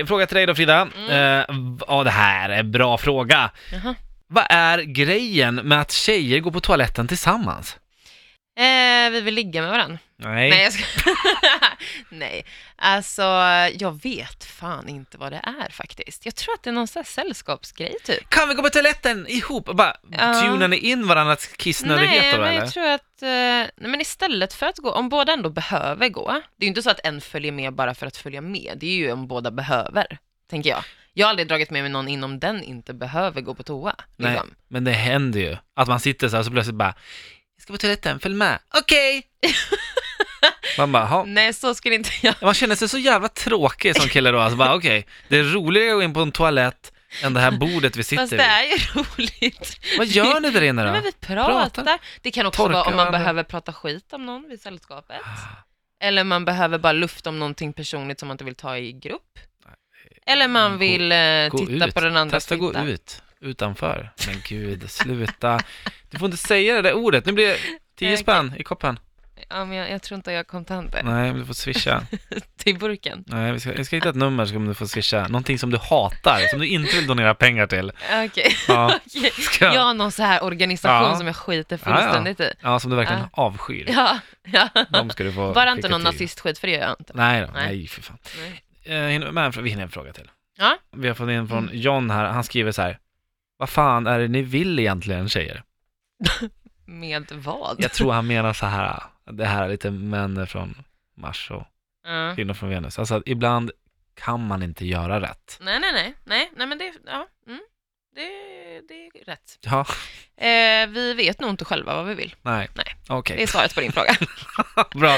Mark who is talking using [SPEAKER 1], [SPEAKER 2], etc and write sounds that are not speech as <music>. [SPEAKER 1] En fråga till dig då Frida. Eh, v- Ja, det här är en bra fråga.
[SPEAKER 2] Jaha.
[SPEAKER 1] Vad är grejen med att tjejer går på toaletten tillsammans?
[SPEAKER 2] Eh, vi vill ligga med varandra.
[SPEAKER 1] Nej.
[SPEAKER 2] Nej, jag ska... <laughs> Nej, alltså jag vet fan inte vad det är faktiskt. Jag tror att det är någon sån här sällskapsgrej typ.
[SPEAKER 1] Kan vi gå på toaletten ihop? Och bara
[SPEAKER 2] Ja.
[SPEAKER 1] tunar ni in varandras
[SPEAKER 2] Nej,
[SPEAKER 1] kissnödigheter då
[SPEAKER 2] men
[SPEAKER 1] eller?
[SPEAKER 2] jag tror att, eh, nej men istället för att gå, om båda ändå behöver gå, det är ju inte så att en följer med bara för att följa med, det är ju om båda behöver, tänker jag. Jag har aldrig dragit med mig någon inom den inte behöver gå på toa.
[SPEAKER 1] Nej.
[SPEAKER 2] Liksom.
[SPEAKER 1] Men det händer ju. Att man sitter så här och så plötsligt bara Jag ska på toaletten, följ med. Okej!
[SPEAKER 2] <laughs>
[SPEAKER 1] man bara, "Ha."
[SPEAKER 2] Nej, så skulle inte jag.
[SPEAKER 1] Man känner sig så jävla tråkig som kille då. Alltså bara okej, det är roligare att gå in på en toalett än det här bordet vi sitter
[SPEAKER 2] Fast
[SPEAKER 1] vid.
[SPEAKER 2] det är ju <laughs> roligt.
[SPEAKER 1] Vad gör ni där inne
[SPEAKER 2] <laughs>
[SPEAKER 1] då?
[SPEAKER 2] Nej, men vi pratar.
[SPEAKER 1] Pratar.
[SPEAKER 2] Det kan också
[SPEAKER 1] Torkar
[SPEAKER 2] vara om man
[SPEAKER 1] varandra.
[SPEAKER 2] behöver prata skit om någon vid sällskapet. Eller man behöver bara luft om någonting personligt som man inte vill ta i grupp. Eller man
[SPEAKER 1] Gå-
[SPEAKER 2] vill eh, titta
[SPEAKER 1] ut.
[SPEAKER 2] på den andra
[SPEAKER 1] Testa gå ut, utanför. Men gud, sluta. Du får inte säga det där ordet. Nu blir det 10
[SPEAKER 2] Okej.
[SPEAKER 1] spänn i koppen.
[SPEAKER 2] Ja, men jag, jag tror inte jag har kontanter
[SPEAKER 1] Nej, men du får swisha.
[SPEAKER 2] till burken.
[SPEAKER 1] Nej, vi ska, jag ska hitta ett nummer som du får swisha. Någonting som du hatar, som du inte vill donera pengar till.
[SPEAKER 2] Okej.
[SPEAKER 1] Ja,
[SPEAKER 2] <laughs> Okej.
[SPEAKER 1] ska
[SPEAKER 2] Jag
[SPEAKER 1] jag?
[SPEAKER 2] har någon så här organisation
[SPEAKER 1] Ja.
[SPEAKER 2] som jag skiter fullständigt i.
[SPEAKER 1] ja som du verkligen
[SPEAKER 2] Ja.
[SPEAKER 1] avskyr.
[SPEAKER 2] Ja, ja.
[SPEAKER 1] De ska du få
[SPEAKER 2] Bara inte
[SPEAKER 1] skicka
[SPEAKER 2] någon
[SPEAKER 1] till.
[SPEAKER 2] nazistskit, för det gör jag inte.
[SPEAKER 1] Nej, då,
[SPEAKER 2] Nej.
[SPEAKER 1] nej, för fan.
[SPEAKER 2] Nej.
[SPEAKER 1] Eh, hinner vi med en frå- vi hinner en fråga till.
[SPEAKER 2] Ja. Mm.
[SPEAKER 1] Vi har fått in från John här, han skriver så här. Vad fan är det ni vill egentligen tjejer?
[SPEAKER 2] Med vad?
[SPEAKER 1] Jag tror han menar så här, det här är lite män från Mars och
[SPEAKER 2] Ja.
[SPEAKER 1] kvinnor från Venus. Alltså att ibland kan man inte göra rätt.
[SPEAKER 2] Nej, nej, nej. Nej, nej men det, ja. Mm. Det, det är rätt.
[SPEAKER 1] Ja,
[SPEAKER 2] Eh, vi vet nog inte själva vad vi vill.
[SPEAKER 1] nej.
[SPEAKER 2] Nej.
[SPEAKER 1] Okej,
[SPEAKER 2] Det är svaret på din fråga.
[SPEAKER 1] bra.